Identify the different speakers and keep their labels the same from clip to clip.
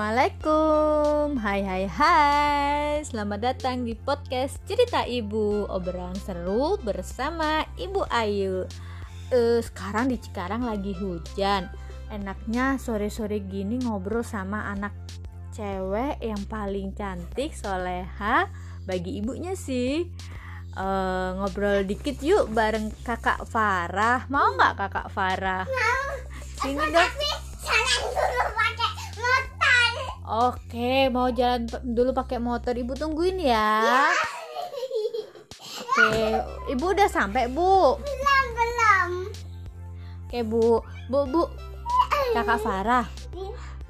Speaker 1: Assalamualaikum Hai hai hai Selamat datang di podcast Cerita Ibu Obrolan seru bersama Ibu Ayu Eh, Sekarang di Cikarang lagi hujan Enaknya sore-sore gini ngobrol sama anak cewek yang paling cantik soleha bagi ibunya sih Eh, Ngobrol dikit yuk bareng kakak Farah Mau nggak kakak Farah? Sini dong
Speaker 2: Tapi jalan dulu pakai motor.
Speaker 1: Oke, mau jalan p- dulu pakai motor. Ibu tungguin ya. Oke, Ibu udah sampai, Bu.
Speaker 2: Belum belum.
Speaker 1: Oke, Bu. Bu, Bu. Kakak Farah.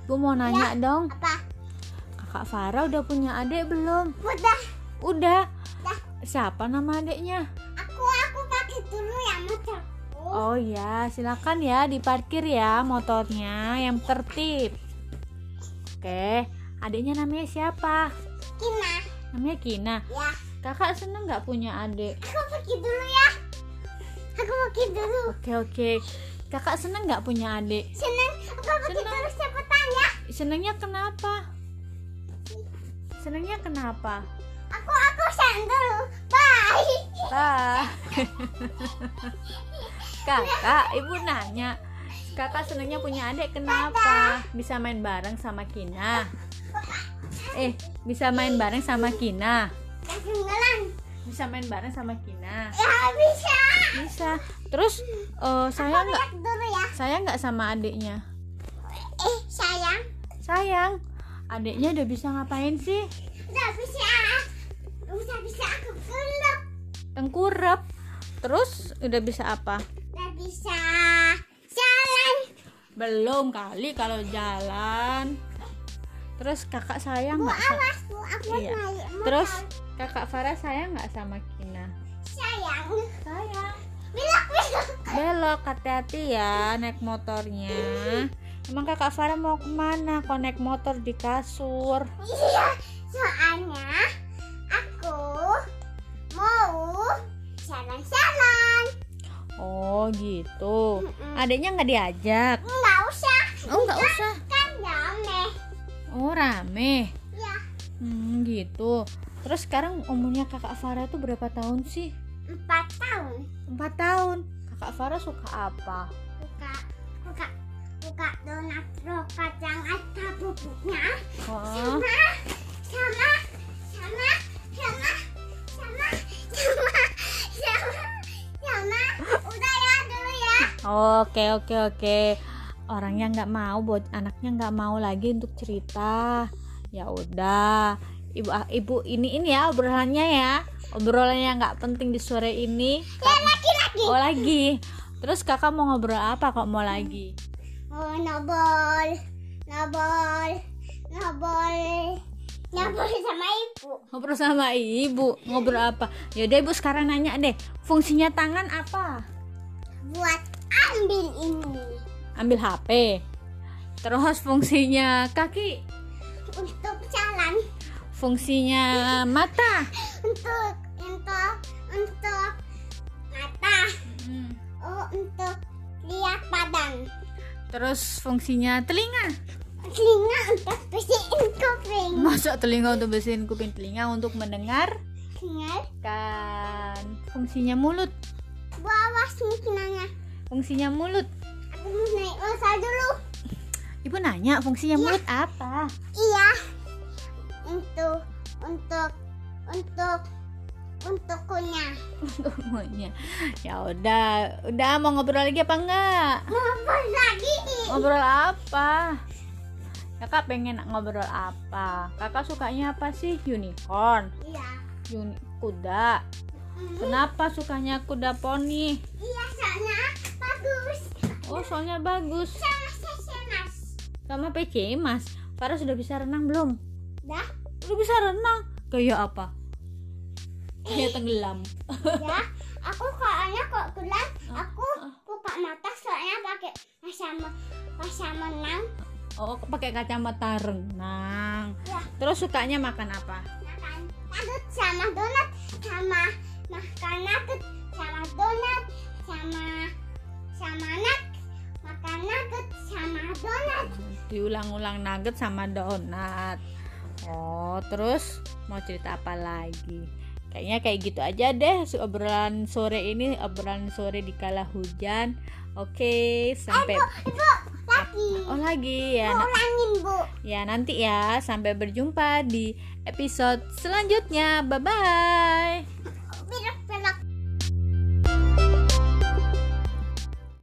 Speaker 1: Bu mau nanya dong.
Speaker 2: Apa?
Speaker 1: Kakak Farah udah punya adik belum?
Speaker 2: Udah.
Speaker 1: Udah.
Speaker 2: Udah.
Speaker 1: Siapa nama adiknya?
Speaker 2: Aku aku pakai dulu ya motorku.
Speaker 1: Oh ya, silakan ya diparkir ya motornya yang tertib. Oke, adiknya namanya siapa?
Speaker 2: Kina.
Speaker 1: Namanya Kina.
Speaker 2: Ya.
Speaker 1: Kakak seneng nggak punya adik?
Speaker 2: Aku pergi dulu ya. Aku pergi dulu.
Speaker 1: Oke oke. Kakak seneng nggak punya adik?
Speaker 2: Seneng. Aku pergi
Speaker 1: Seneng.
Speaker 2: dulu cepetan ya.
Speaker 1: Senengnya kenapa? Senengnya kenapa?
Speaker 2: Aku aku jalan dulu. Bye.
Speaker 1: Lah. Ah. kakak, ibu nanya. Kakak senengnya punya adik kenapa? Bisa main bareng sama Kina. Eh, bisa main bareng sama Kina.
Speaker 2: Ketinggalan.
Speaker 1: Bisa main bareng sama Kina.
Speaker 2: Ya bisa.
Speaker 1: Bisa. Terus eh, saya nggak
Speaker 2: Lihat dulu ya.
Speaker 1: saya nggak sama adiknya.
Speaker 2: Eh sayang.
Speaker 1: Sayang, adiknya udah bisa ngapain sih?
Speaker 2: Udah bisa. Udah bisa aku peluk.
Speaker 1: tengkurap terus udah bisa apa
Speaker 2: Udah bisa jalan.
Speaker 1: belum kali kalau jalan terus kakak sayang
Speaker 2: Bu
Speaker 1: nggak sa-
Speaker 2: awas bu, aku
Speaker 1: Iya.
Speaker 2: naik motor.
Speaker 1: terus kakak Farah sayang nggak sama Kina
Speaker 2: sayang,
Speaker 1: sayang
Speaker 2: belok belok.
Speaker 1: belok hati-hati ya naik motornya emang kakak Farah mau kemana kok naik motor di kasur
Speaker 2: Iya, soalnya aku mau jalan-jalan.
Speaker 1: oh gitu
Speaker 2: Mm-mm.
Speaker 1: adiknya nggak diajak
Speaker 2: Nggak usah,
Speaker 1: oh nggak usah
Speaker 2: kan rame.
Speaker 1: oh rame
Speaker 2: Ya,
Speaker 1: hmm, gitu terus sekarang umurnya kakak Farah tuh berapa tahun sih
Speaker 2: empat tahun.
Speaker 1: 4 tahun. Kakak Farah suka apa?
Speaker 2: Buka, buka, buka donat rokat yang ada bubuknya.
Speaker 1: Oh,
Speaker 2: Sama, sama, sama, sama, sama, sama, sama, sama. Udah ya dulu ya.
Speaker 1: oke oke oke. Orangnya nggak mau buat anaknya nggak mau lagi untuk cerita. Ya udah. Ibu ah, ibu ini ini ya obrolannya ya. Obrolannya nggak penting di sore ini.
Speaker 2: Ya lagi-lagi.
Speaker 1: Oh lagi. Terus kakak mau ngobrol apa kok mau lagi?
Speaker 2: Oh, nobol, nobol, nobol, nobol sama ibu.
Speaker 1: Ngobrol sama ibu. Ngobrol apa? Yaudah ibu sekarang nanya deh. Fungsinya tangan apa?
Speaker 2: Buat ambil ini
Speaker 1: Ambil HP. Terus fungsinya kaki
Speaker 2: untuk jalan,
Speaker 1: fungsinya mata
Speaker 2: untuk untuk untuk mata,
Speaker 1: Hmm.
Speaker 2: oh untuk lihat badan,
Speaker 1: terus fungsinya telinga
Speaker 2: telinga untuk bersihin kuping,
Speaker 1: masuk telinga untuk bersihin kuping telinga untuk mendengarkan
Speaker 2: dengar
Speaker 1: fungsinya mulut
Speaker 2: wawas mikinanya.
Speaker 1: fungsinya mulut
Speaker 2: Aku mau naik motor dulu.
Speaker 1: ibu nanya fungsinya mulut apa
Speaker 2: Iya. Untuk untuk untuk untuk kunyah.
Speaker 1: Pokoknya. ya udah udah mau ngobrol lagi apa enggak
Speaker 2: Ngobrol lagi.
Speaker 1: ngobrol apa kakak pengen ngobrol apa kakak sukanya apa sih unicorn
Speaker 2: Iya.
Speaker 1: Uni kuda kenapa sukanya kuda poni
Speaker 2: Iya, soalnya bagus.
Speaker 1: oh soalnya bagus
Speaker 2: Sama sesi mas.
Speaker 1: sama PC Mas. Farah sudah bisa renang belum?
Speaker 2: Dah,
Speaker 1: Udah bisa renang. Kayak apa? Kayak tenggelam.
Speaker 2: ya. Aku soalnya kok gelap. Aku buka mata soalnya pakai sama masa menang.
Speaker 1: Oh, pakai kacamata renang.
Speaker 2: Ya.
Speaker 1: Terus sukanya makan apa?
Speaker 2: Makan nugget sama donat sama makan nugget sama donat sama sama nugget makan nugget sama donat
Speaker 1: diulang-ulang nugget sama donat oh terus mau cerita apa lagi kayaknya kayak gitu aja deh su- obrolan sore ini obrolan sore di kala hujan oke sampai
Speaker 2: lagi
Speaker 1: oh lagi ya na-
Speaker 2: ulangin bu
Speaker 1: ya nanti ya sampai berjumpa di episode selanjutnya bye bye
Speaker 2: biar